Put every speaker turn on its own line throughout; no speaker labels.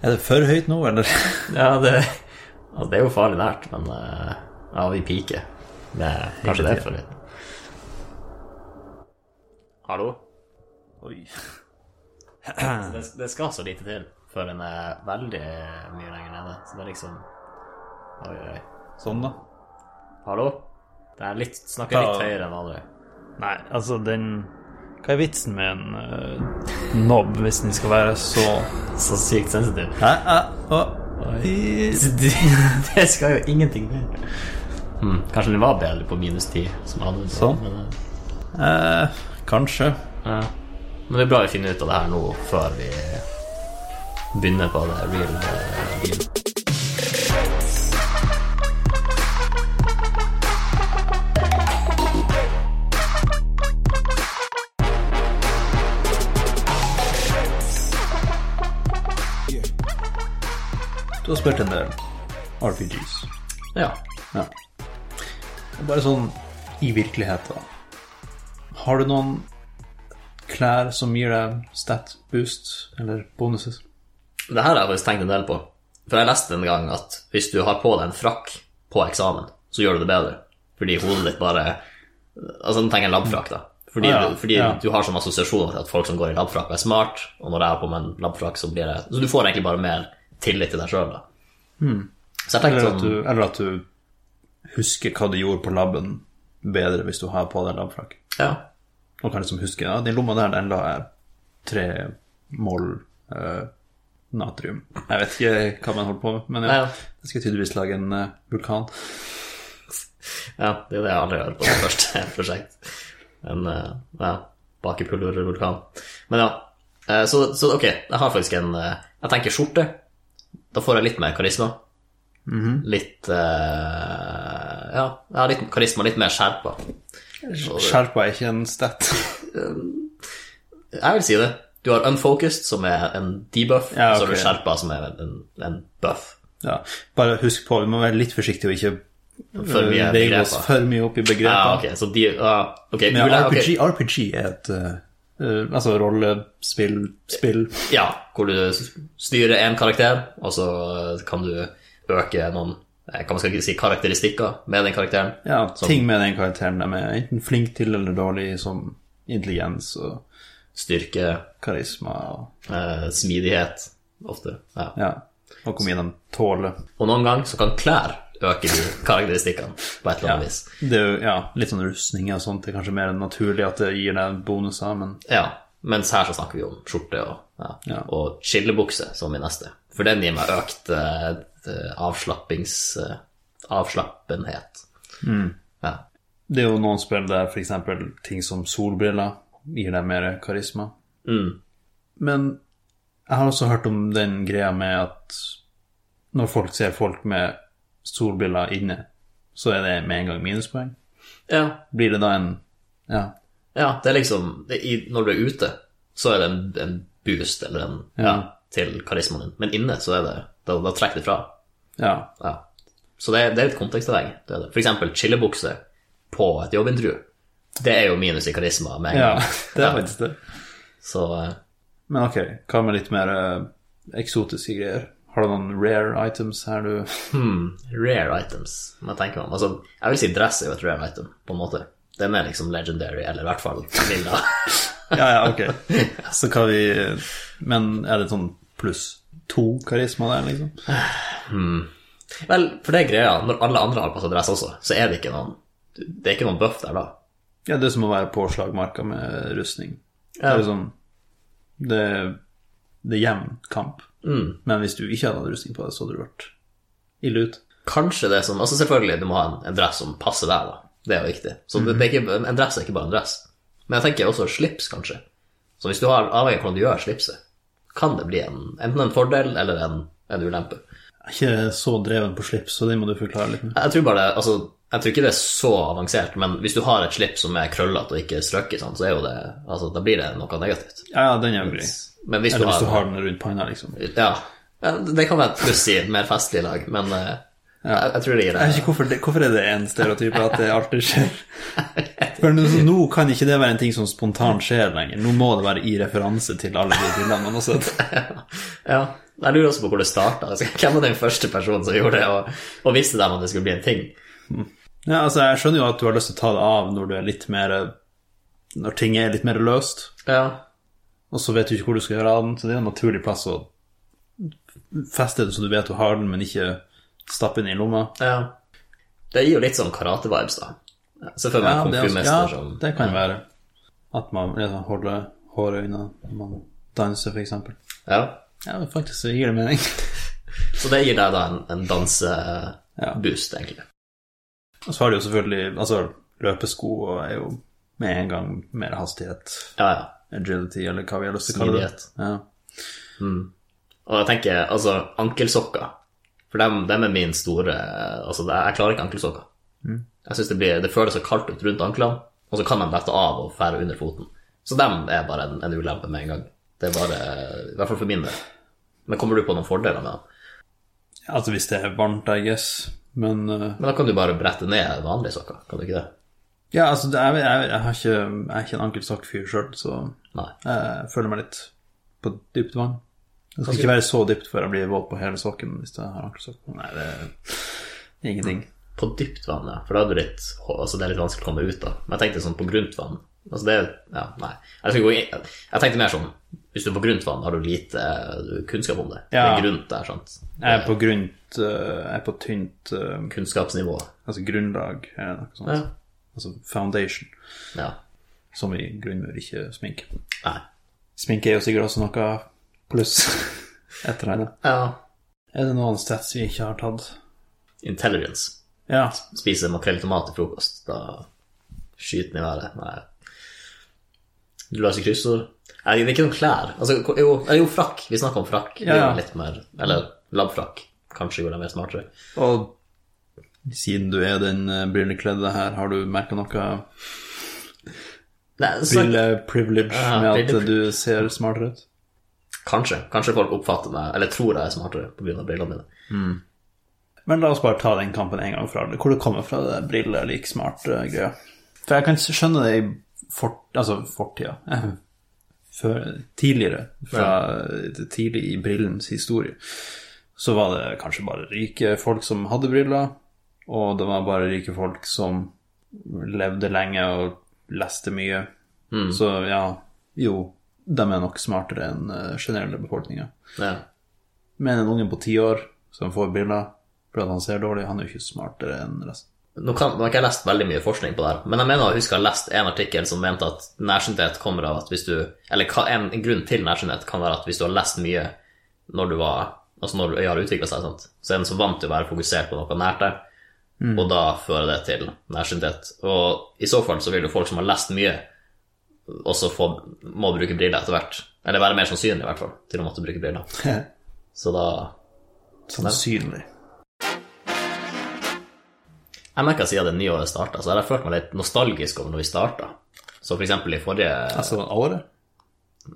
Er det for høyt nå, eller?
Ja, det, altså, det er jo farlig nært, men eh, ja, vi piker. Det er kanskje det er for litt. Hallo?
Oi.
Det, det skal så lite til før en er veldig mye lenger nede, så det er liksom Oi, oi, oi.
Sånn, da.
Hallo? Det er litt, snakker litt
Ja.
høyere enn andre.
Nei, altså den Hva er vitsen med en eh, nobb hvis den skal være så
Så sykt sensitiv.
Hæ? Hæ? Å.
Så Det, det skal jo ingenting til. Hmm, kanskje den var bedre på minus 10, som hadde det.
Sånn.
Men, eh,
Eh, kanskje.
Ja. Men det er bra vi finner ut av det her nå, før vi begynner på det real eh, deal.
Du har spilt en del RPGs.
Ja.
Ja. Bare sånn i virkeligheten. Har du noen klær som gir deg stat boost eller bonuses?
Det her har jeg faktisk tenkt en del på. For jeg leste en gang at hvis du har på deg en frakk på eksamen, så gjør du det bedre. Fordi hodet ditt bare Altså, nå tenker jeg labfrakk, da. Fordi,
Ah, ja,
du, fordi
ja.
du har sånne assosiasjoner til at folk som går i labfrakk, er smart, og når jeg har på meg en labfrakk, så blir jeg Så du får egentlig bare mer tillit til deg sjøl, da. Så jeg
Hmm.
tenkte
Eller at,
sånn
du, eller at du husker hva du gjorde på laben bedre hvis du har på deg labfrakk.
Ja.
Og kan liksom huske ja, den lomma der, den la jeg tre mål eh, natrium. Jeg vet ikke hva man holder på med, men ja,
Ja, ja.
jeg skal tydeligvis lage en eh, vulkan.
Ja, det er jo det jeg aldri gjør på det første prosjekt. En eh, ja, bakepulvervulkan. Men ja, eh, så, så ok, jeg har faktisk en eh, Jeg tenker skjorte. Da får jeg litt mer karisma.
Mhm.
Litt eh, Ja, jeg har litt karisma, litt mer skjerpa.
Skjerpa er ikke en stat.
Jeg vil si det. Du har unfocused, som er en debuff,
Ja,
og så har du
ok.
skjerpa, som er en, en buff.
Ja, bare husk på, vi må være litt forsiktige og ikke
For
eh,
mye
legge oss
begreper.
for mye opp i begreper.
Ja, Ah, ok, så de ja, Ok,
Men
ule- ok.
RPG, RPG er et eh, eh, altså rollespill, spill
Ja, hvor du styrer én karakter, og så eh, kan du øke noen eh, hva man skal si, karakteristikker med den karakteren.
Ja,
Som-
ting med den karakteren de er enten flink til eller dårlig, som intelligens og
Styrke,
karisma og
eh, smidighet, ofte. Ja.
ja, og hvor mye de tåler.
Og noen ganger så kan klær øke de karakteristikkene på et eller annet vis.
Det er jo ja, litt sånn rustninger og sånt, det er kanskje mer naturlig at det gir deg bonuser, men
Ja, Mens her så snakker vi om skjorte og, ja,
Ja.
og chillebukse som min neste. For den gir meg økt eh, eh, avslappings... Eh, avslappenhet. Ja.
det er jo noen spill der f.eks. ting som solbriller gir deg mer karisma.
Mm.
Men jeg har også hørt om den greia med at når folk ser folk med solbriller inne, så er det med en gang minuspoeng.
ja.
Blir det da en Ja.
Ja, det er liksom det, i, Når du er ute, så er det en, en boost eller en ja. til karismaen din. Men inne så er det Da, da trekker det fra.
ja.
Ja. Så det, det er litt kontekstavhengig. Det er det. For eksempel chillebukse på et jobbintervju. Det er jo minus i karisma med en
Ja,
gang.
det er faktisk det.
Så eh,
Men ok, hva med litt mer eh, eksotiske greier? Har du noen rare items her du
hmm, rare items, må jeg tenke meg om. Altså, jeg vil si dress er jo et rare item, på en måte. Den er liksom legendary, eller i hvert fall lilla.
Ja, ja, ok. Så hva vi Men er det sånn pluss to karisma der, liksom?
Vel, for det er greia, når alle andre har passa dress også, så er det ikke noen Det er ikke noen buff der da.
Ja, det er som å være på slagmarka med rustning. Det er jo sånn Det, det er jevn kamp. Men hvis du ikke hadde hatt rustning på deg, så hadde du vært ille ut.
Kanskje det som Altså selvfølgelig, du må ha en, en dress som passer deg, da. Det er jo viktig. Så det, det er ikke, en dress er ikke bare en dress. Men jeg tenker også slips, kanskje. Så hvis du har avhengig av hvordan du gjør slipset, kan det bli en, enten en fordel eller en, en ulempe.
Jeg er ikke så dreven på slips, så det må du forklare litt. mer.
Jeg tror bare det Altså, jeg tror ikke det er så avansert, men hvis du har et slips som er krøllete og ikke strøkket, sånn, så er jo det Altså, da blir det noe negativt.
Ja, ja, den er jo grei.
Men hvis du,
Eller hvis
har,
du har den rundt panna, liksom. Jeg
Ja. Ja, Det kan være et pluss i et mer festlig lag, men eh, jeg, jeg tror det gir
vet
deg
ikke hvorfor, det, hvorfor er det en stereotyp at det alltid skjer. For nå, nå kan ikke det være en ting som spontant skjer lenger. Nå må det være i referanse til alle de bildene man har sett.
Ja, Jeg lurer også på hvor det starta. Altså, hvem var den første personen som gjorde det, og, og visste dem at det skulle bli en ting?
Ja, altså, jeg skjønner jo at du har lyst til å ta det av når du er litt mer Når ting er litt mer løst,
Ja,
og så vet du ikke hvor du skal gjøre av den, så det er en naturlig plass å feste det så du vet du har den, men ikke stappe den i lomma.
ja. Det gir jo litt sånn karate-vibes, da. Se for meg en
Ja, det, er også,
konfirmester
sånn. ja,
som
det kan være. At man liksom, holder håret unna når man danser, f.eks.
Ja.
Ja, men faktisk så gir det mening.
Så det gir deg da en, en danseboost, egentlig.
Og så har de jo selvfølgelig Altså, løpesko og er jo med en gang mer hastighet,
Ja, ja.
agility, eller hva vi har lyst til å kalle det.
Smidighet.
Ja.
Og jeg tenker, altså, ankelsokker. For dem, dem er min store Altså, det- jeg klarer ikke ankelsokker. Jeg synes det, blir, det føles så kaldt ut rundt anklene, og så kan de dette av og fære under foten. Så dem er bare en, en ulempe med en gang. Det er bare I hvert fall for min del. Men kommer du på noen fordeler med dem?
Altså, hvis det er varmt, I guess. Men eh,
Men da kan du bare brette ned vanlige sokker, kan du ikke det?
ja, altså, det- jeg, jeg, jeg, har ikke, jeg er ikke en ankelsokkfyr sjøl, så
Nei.
jeg føler meg litt på dypt vann. Det skal ikke være så dypt før jeg blir våt på hele sokken hvis jeg har ankelsokk. Nei, det er ingenting.
På dypt vann, ja. For da er det litt, altså det er litt vanskelig å komme ut av. Men jeg tenkte sånn på grunt vann. Altså det, ja, nei. Jeg, skal gå inn, jeg tenkte mer sånn, hvis du er på grunt vann, har du lite eh, kunnskap om det.
Ja.
Det er grunt der, sant?
Jeg er på grunt eh, Jeg er på tynt eh,
Kunnskapsnivå.
Altså grunnlag, eller noe sånt.
Ja.
Altså foundation,
ja.
som i grunnmur, ikke sminke.
Nei.
Sminke er jo sikkert også noe pluss etter henne.
Ja.
Er det noen stats vi ikke har tatt?
Intelligence.
Ja.
Spise makrell i tomat til frokost. Da skyter den i været. Nei. Du løser kryssord. Nei, det er ikke noen klær. Altså, jo, eh, jo, frakk. Vi snakker om frakk. Det er
Ja, ja.
jo Litt mer, eller labfrakk. Kanskje gjorde jeg mer smartere.
Og siden du er den eh, brillekledde her, har du merka noe
Nei, så-
brilleprivilege
Ja,
med at
brille-
du ser smartere ut?
Kanskje. Kanskje folk oppfatter meg, eller tror jeg er smartere pga. brillene mine.
Men la oss bare ta den kampen en gang for alle. Hvor det kommer fra, det briller lik smart-greia. eh, For jeg kan skjønne det i fort, altså fortida. Før, tidligere, fra det tidlig i brillens historie, så var det kanskje bare rike folk som hadde briller, og det var bare rike folk som levde lenge og leste mye. Så ja, jo, de er nok smartere enn eh, generelle befolkninga.
Ja.
Men en unge på ti år som får briller fordi at han ser dårlig, han er jo ikke smartere enn resten.
Nå, kan, nå har ikke jeg lest veldig mye forskning på det her, men jeg mener å huske jeg har lest en artikkel som mente at nærsynthet kommer av at hvis du Eller hva- en en grunn til nærsynthet kan være at hvis du har lest mye når du var Altså når øya har utvikla seg, sant? så er den så vant til å være fokusert på noe nært deg, og da fører det til nærsynthet. Og i så fall så vil jo folk som har lest mye, også få, må bruke briller etter hvert. Eller være mer sannsynlig, i hvert fall, til å måtte bruke briller. Så da
Sannsynlig.
Jeg merker siden det nye året starta, så har jeg følt meg litt nostalgisk over når vi starta. Så for eksempel i forrige
Altså året?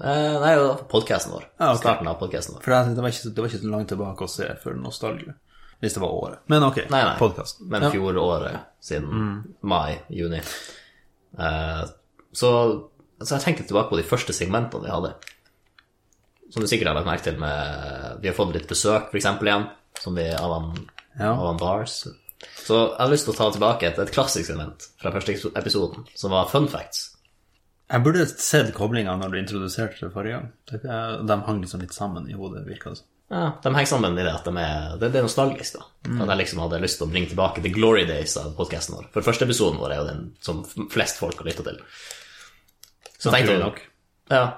eh, Nei, det var podkasten vår.
Ja, Ah, ok.
Starten av podkasten vår.
For jeg tenkte, det var, ikke, så- det var ikke så langt tilbake å se for nostalgi. Hvis det var året. Men ok,
Nei, nei.
podkasten.
Men
Ja. Mm.
fjoråret siden mai, juni. Eh, så, så jeg tenkte tilbake på de første segmentene vi hadde. Som du sikkert har lagt merke til med Vi har fått litt besøk, for eksempel, igjen. Som vi av han
Ja.
av han Bars. Så jeg har lyst til å ta tilbake et, et klassisk segment fra første episoden, som var fun facts.
Jeg burde sett koblinga når du introduserte det forrige gang. Det- eh, De hang liksom litt sammen i hodet, virka det som.
Ja, de henger sammen i det at de er, det, det er nostalgisk. da. At jeg liksom hadde lyst til å bringe tilbake the glory days av podkasten vår. For første episoden vår er jo den som flest folk har lytta til. Så jeg,
Naturlig
tenkte, ja,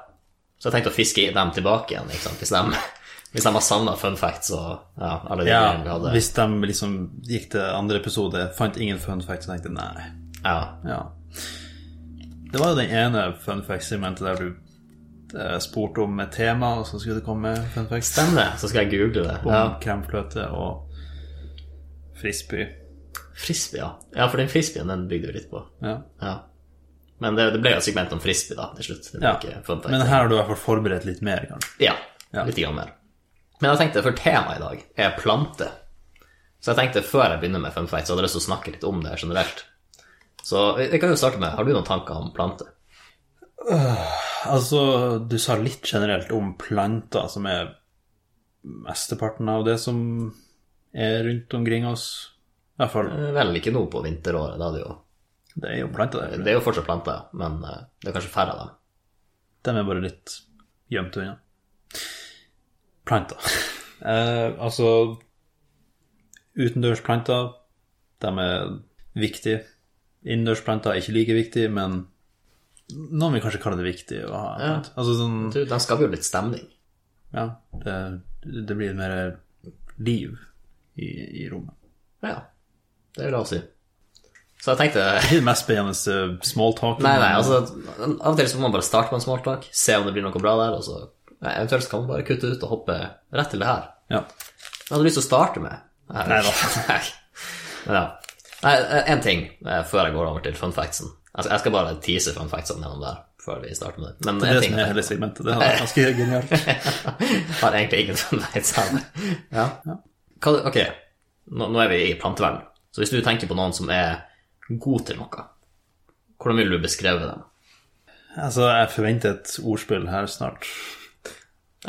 så jeg tenkte å fiske i dem tilbake igjen, ikke sant? Hvis, de, hvis de har savna fun facts og ja, alle de greiene vi
Ja,
hadde.
hvis de liksom gikk til andre episode, fant ingen fun facts, og tenkte nei.
Ja,
Ja. Det var jo den ene fun fact-segmentet der du eh, spurte om et tema, og så skulle det komme fun facts.
Stemmer, så skal jeg google det.
Om
Ja,
kremfløte og frisbee.
Frisbee, ja. Ja, for den frisbeen den bygde vi litt på.
Ja.
Ja. Men det, det ble jo et segment om frisbee da, til slutt. Det ble
Ja.
ikke fun facts.
Men her har du i hvert fall forberedt litt mer, kanskje.
Ja,
Ja.
litt grann mer. Men jeg tenkte, for temaet i dag er plante. Så jeg tenkte, før jeg begynner med fun facts, så hadde jeg lyst til å snakke litt om det generelt. Så vi vi kan jo starte med, har du noen tanker om plante?
Altså, du sa litt generelt om planter som er mesteparten av det som er rundt omkring oss. I hvert fall,
Eh, Vel, ikke nå på vinteråret. Da er det, jo,
det er jo planter der.
det er jo fortsatt planter, men eh, det er kanskje færre av dem.
De er bare litt gjemt unna. Planter. Eh, altså Utendørsplanter, de er viktige. Innendørsplanter er ikke like viktige, men noen vil kanskje kalle det viktig å ha.
Ja.
Altså sånn
Du, de skaper jo litt stemning.
Ja, det, det blir mer liv i, i rommet.
Ja, det vil jeg også si. Så jeg tenkte
Det er det mest spennende eh, smalltalken.
Nei, nei, altså Av og til så må man bare starte med en smalltalk, se om det blir noe bra der, og så nei, eventuelt så kan man bare kutte ut og hoppe rett til det her.
Ja.
Jeg hadde lyst til å starte med Nei, Nei. Men ja. Nei, en ting eh, før jeg går over til fun factsen. Altså, jeg skal bare tease fun factsen gjennom der før vi starter med det. Men
Det er
en
det
ting
som er
jeg
hele segmentet. Det er ganske genialt.
har egentlig ingen fun facts her. Ja. Hva, ok, nå, nå er vi i planteverden. Så hvis du tenker på noen som er god til noe, hvordan vil du beskrive dem?
Altså, jeg forventer et ordspill her snart.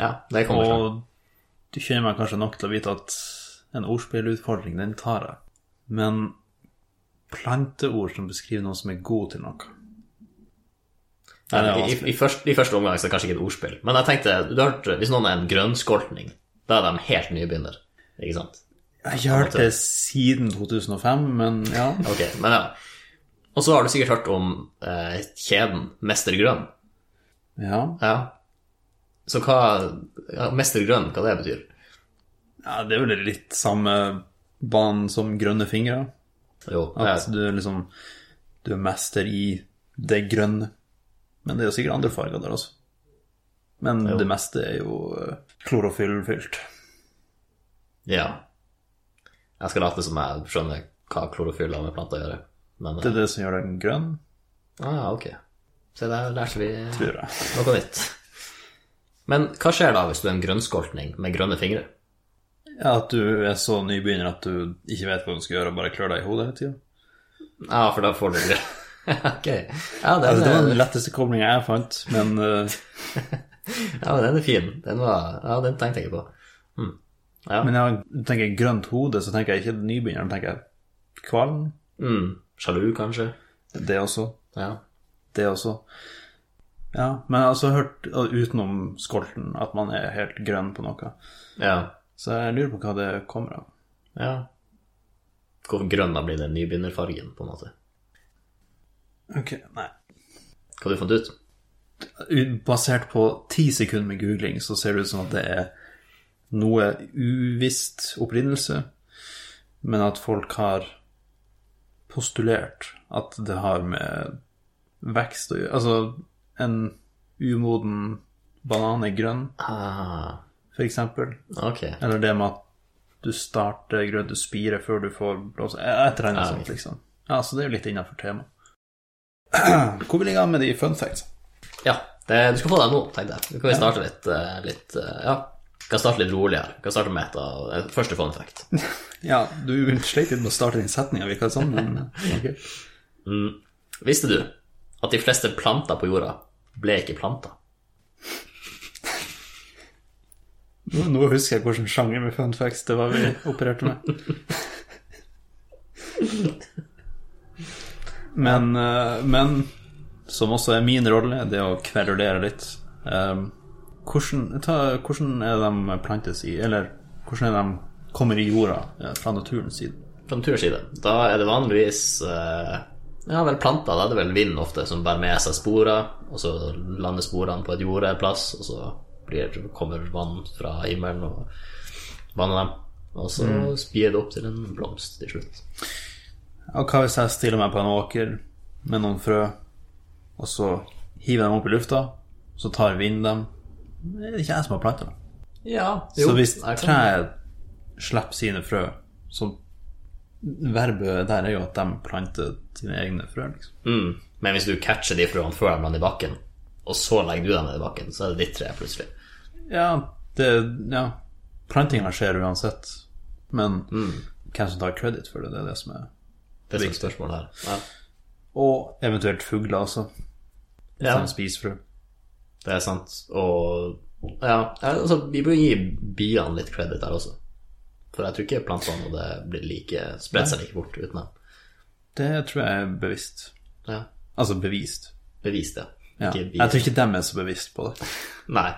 Ja, det kommer fram.
Og du kjenner meg kanskje nok til å vite at en ordspillutfordring, den tar jeg. Men planteord som beskriver noen som er god til noe Nei, det er
I,
vanskelig.
i, første, I første omgang så er det kanskje ikke et ordspill, men jeg tenkte, du har hørt, hvis noen er en grønnskoltning, da er de helt nybegynner, ikke sant?
Jeg har hørt det siden 2005, men ja.
Ok, men ja. Og så har du sikkert hørt om eh, kjeden Mester Grønn.
Ja,
Ja. Så hva ja, Mester Grønn, hva det betyr?
ja det er vel litt samme banen som grønne fingre.
Jo,
At
eh,
du er liksom Du er mester i det grønne. Men det er jo sikkert andre farger der også. Men det meste er jo eh, klorofyllfylt.
ja. Jeg skal late som jeg skjønner hva klorofyll har med planter å gjøre. Men
Det
eh,
er det som gjør den grønn,
ah, ja, ok. Se, der lærte vi
tror jeg.
noe nytt. Men hva skjer da hvis du er en grønnskoltning med grønne fingre?
Ja, At du er så nybegynner at du ikke vet hva du skal gjøre, og bare klør deg i hodet hele tida.
Ja, for da får du grønn. ok. Ja, den,
Altså, det var
er-
den letteste koblinga jeg fant, men eh,
ja, den er fin. Den var, ja, den tenkte jeg ikke på.
Men jeg tenker jeg grønt hode, så tenker jeg ikke nybegynner, da tenker jeg kvalm.
Mm, sjalu, kanskje?
Det også.
Ja.
det også. Ja, men jeg har også hørt uh, utenom skolten at man er helt grønn på noe.
Ja.
Så jeg lurer på hva det kommer av.
ja. Hvorfor grønn da blir den nybegynnerfargen, på en måte?
Ok, nei.
Hva har du funnet ut?
U- Basert på ti sekunder med googling så ser det ut som at det er noe uvisst opprinnelse, men at folk har postulert at det har med vekst å gjøre. Altså, en umoden banan er grønn,
Ah,
for eksempel.
ok.
Eller det med at du starter grønt, du spirer før du får blåse Et eller annet
Ja,
sånt, liksom. Ja, så det er jo litt innafor temaet. Hvor vil jeg ha med de fun facts?
Ja, det, du skal få deg nå, tenkte jeg. Nå kan vi starte litt, eh, litt eh, Ja, vi kan starte litt rolig her. Vi kan starte med et av eh, første fun fact.
Ja, du sleit litt med å starte den setninga, virka det som. Men, ok.
Visste du at de fleste planter på jorda ble ikke planter?
nå, nå husker jeg hvilken sjanger med fun facts det var vi opererte med. Men, eh, men som også er min rolle, det er å kverulere litt. Eh, Hvordan, ta, hvordan er de plantes i, eller hvordan er de kommer i jorda eh, fra naturens side?
Fra naturens side. Da er det vanligvis eh, ja, vel planter. Da er det vel vind ofte som bærer med seg sporer, og så lander sporene på et jorde en plass, og så blir, kommer vann fra himmelen og vanner dem. Og så spirer det opp til en blomst til slutt.
Og hva hvis jeg stiller meg på en åker med noen frø, og så hiver jeg dem opp i lufta, så tar vinden dem? Det er ikke jeg som har planta dem.
Ja,
Så hvis
jeg kan-
treet slipper sine frø, så verbet der er jo at de planter sine egne frø, liksom.
mm. Men hvis du catcher de frøene før de lander i bakken, og så legger du dem ned i bakken, så er det ditt tre plutselig.
Ja, det Ja. Plantinga skjer uansett, men
Mm.
hvem som tar credit for det, det er det som er
Det er spørsmålet her. Ja.
Og eventuelt fugler også,
Ja.
som spiser frø.
Det er sant. Og Ja, altså, vi bør gi biene litt credit der også. For jeg tror ikke plantene hadde blitt like, spredt seg like fort uten dem.
Det tror jeg er bevisst.
Ja,
Altså bevist.
Bevis det.
Ja.
Ikke
Jeg
bier.
tror ikke dem er så bevisst på det.
Nei,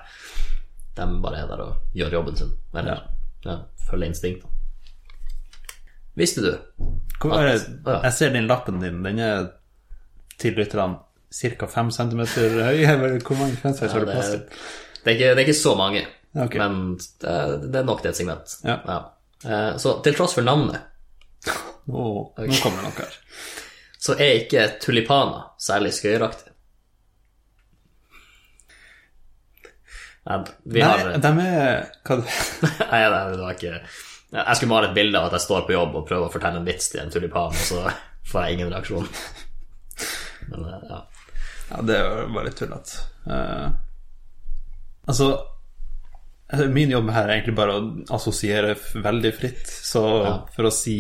de bare er der og gjør jobben sin. Eller ja. følger instinktene. Visste du
Hvor er det?
Ja.
Jeg ser den lappen din. Den er til lytterne ca. 5 cm høy. Eller Hvor mange fenster har du
det,
plass
er,
til?
det, er ikke, det er ikke så mange,
Ok.
men det er, det er nok til et segment.
Ja.
Eh, Så til tross for navnet,
Nå, nå kommer det noe her.
så er ikke tulipaner særlig skøyeraktige. Nei, vi har...
Nei, de er Hva det
Nei, nei, det var ikke Jeg skulle male et bilde av at jeg står på jobb og prøver å fortelle en vits til en tulipan, og så får jeg ingen reaksjon. Men eh, ja.
Ja, det er jo bare tullete. Eh, altså altså, Min jobb her er egentlig bare å assosiere f- veldig fritt. Så for å si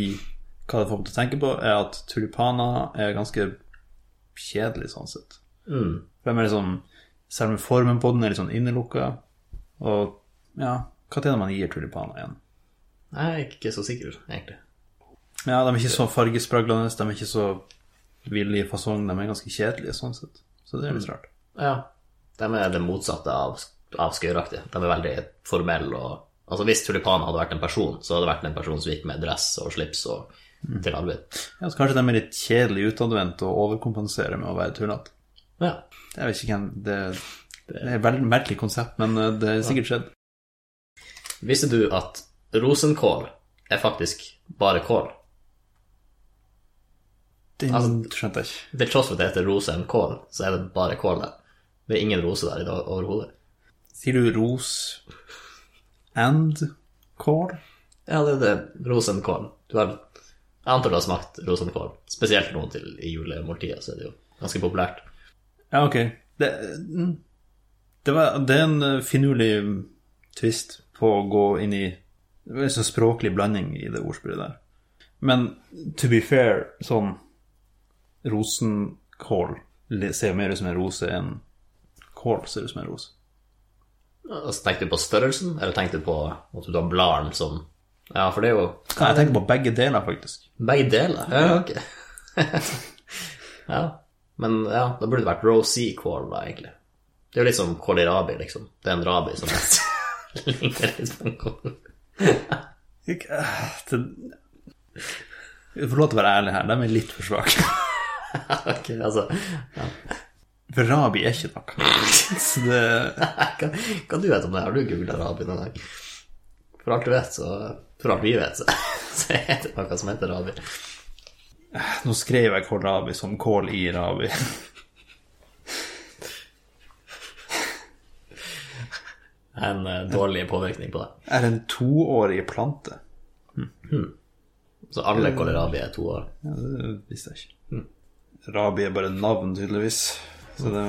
hva det får meg til å tenke på, er at tulipaner er ganske kjedelig sånn sett.
Mm.
For de er liksom Selve formen på den er litt sånn innelukka. Og ja, hva tjener man gir tulipaner igjen?
Nei, Jeg er ikke så sikker, egentlig.
Ja, de er ikke så fargespraglende, de er ikke så ville i fasong, de er ganske kjedelige sånn sett. Så det er litt rart.
Ja. De er det motsatte av, av skøyeraktige. De er veldig formelle og Altså, hvis tulipanen hadde vært en person, så hadde det vært en person som gikk med dress og slips og til arbeid.
Ja, så kanskje de er litt kjedelig utadvendt og overkompenserer med å være tullete.
Ja.
Jeg vet ikke hvem Det, det er et veldig merkelig konsept, men eh, det er sikkert skjedd.
Visste du at rosenkål er faktisk bare kål?
Den
Altså-
skjønte jeg ikke.
Til tross for at det heter rosenkål, så er det bare kål der. Det er ingen rose der i dag overhodet.
Sier du ros and kål?
Ja, det er det. Rosenkål. Du har, jeg antar du har smakt rosenkål. Spesielt nå til i julemåltidet, så er det jo ganske populært.
Ja, ok. Det, mm. det, var, det er en eh, finurlig twist på å gå inn i det er en sånn språklig blanding i det ordspillet der. Men to be fair, sånn rosenkål le- ser jo mer ut som en rose enn kål ser ut som en rose.
Altså, tenkte du på størrelsen, eller tenkte du på at du har bladene som Ja, for det er jo
Nei, jeg tenker på begge deler, faktisk.
begge deler. Ja, ok. ja. Men ja, da burde det vært rosé kål, da, egentlig. Det er jo litt som kålrabi, liksom. Det er en rabi som ligner litt på en kål.
Ikke- eh, Det... Jeg får lov til å være ærlig her, de er litt for svake.
Ok, altså
For rabi er ikke noe. Så det, eh,
Hva, hva du vet om det? Har du googla rabi noen gang? For alt du vet, så For alt vi vet, så, så er det noe som heter rabi.
nå skrev jeg kål rabi som kål i rabi.
En eh, dårlig påvirkning på deg.
er en toårig plante.
Så alle kålrabi er to år.
Ja, det visste jeg ikke. Hm. Rabi er bare navn, tydeligvis. Så det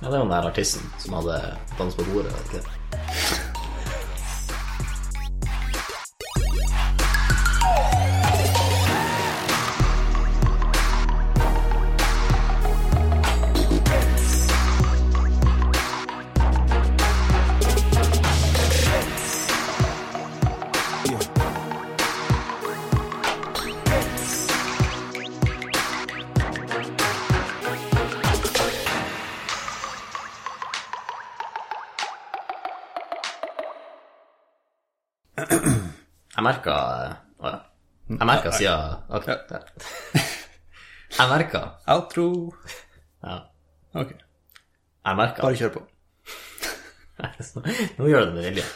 Ja, det er jo den der artisten som hadde dans på bordet. vet ikke det? Jeg merka Å ja. Jeg merka siden Ok. Ja. Jeg merka
Outro.
Ja.
Ok,
Jeg merka
bare kjør på.
Nå gjør du det med vilje.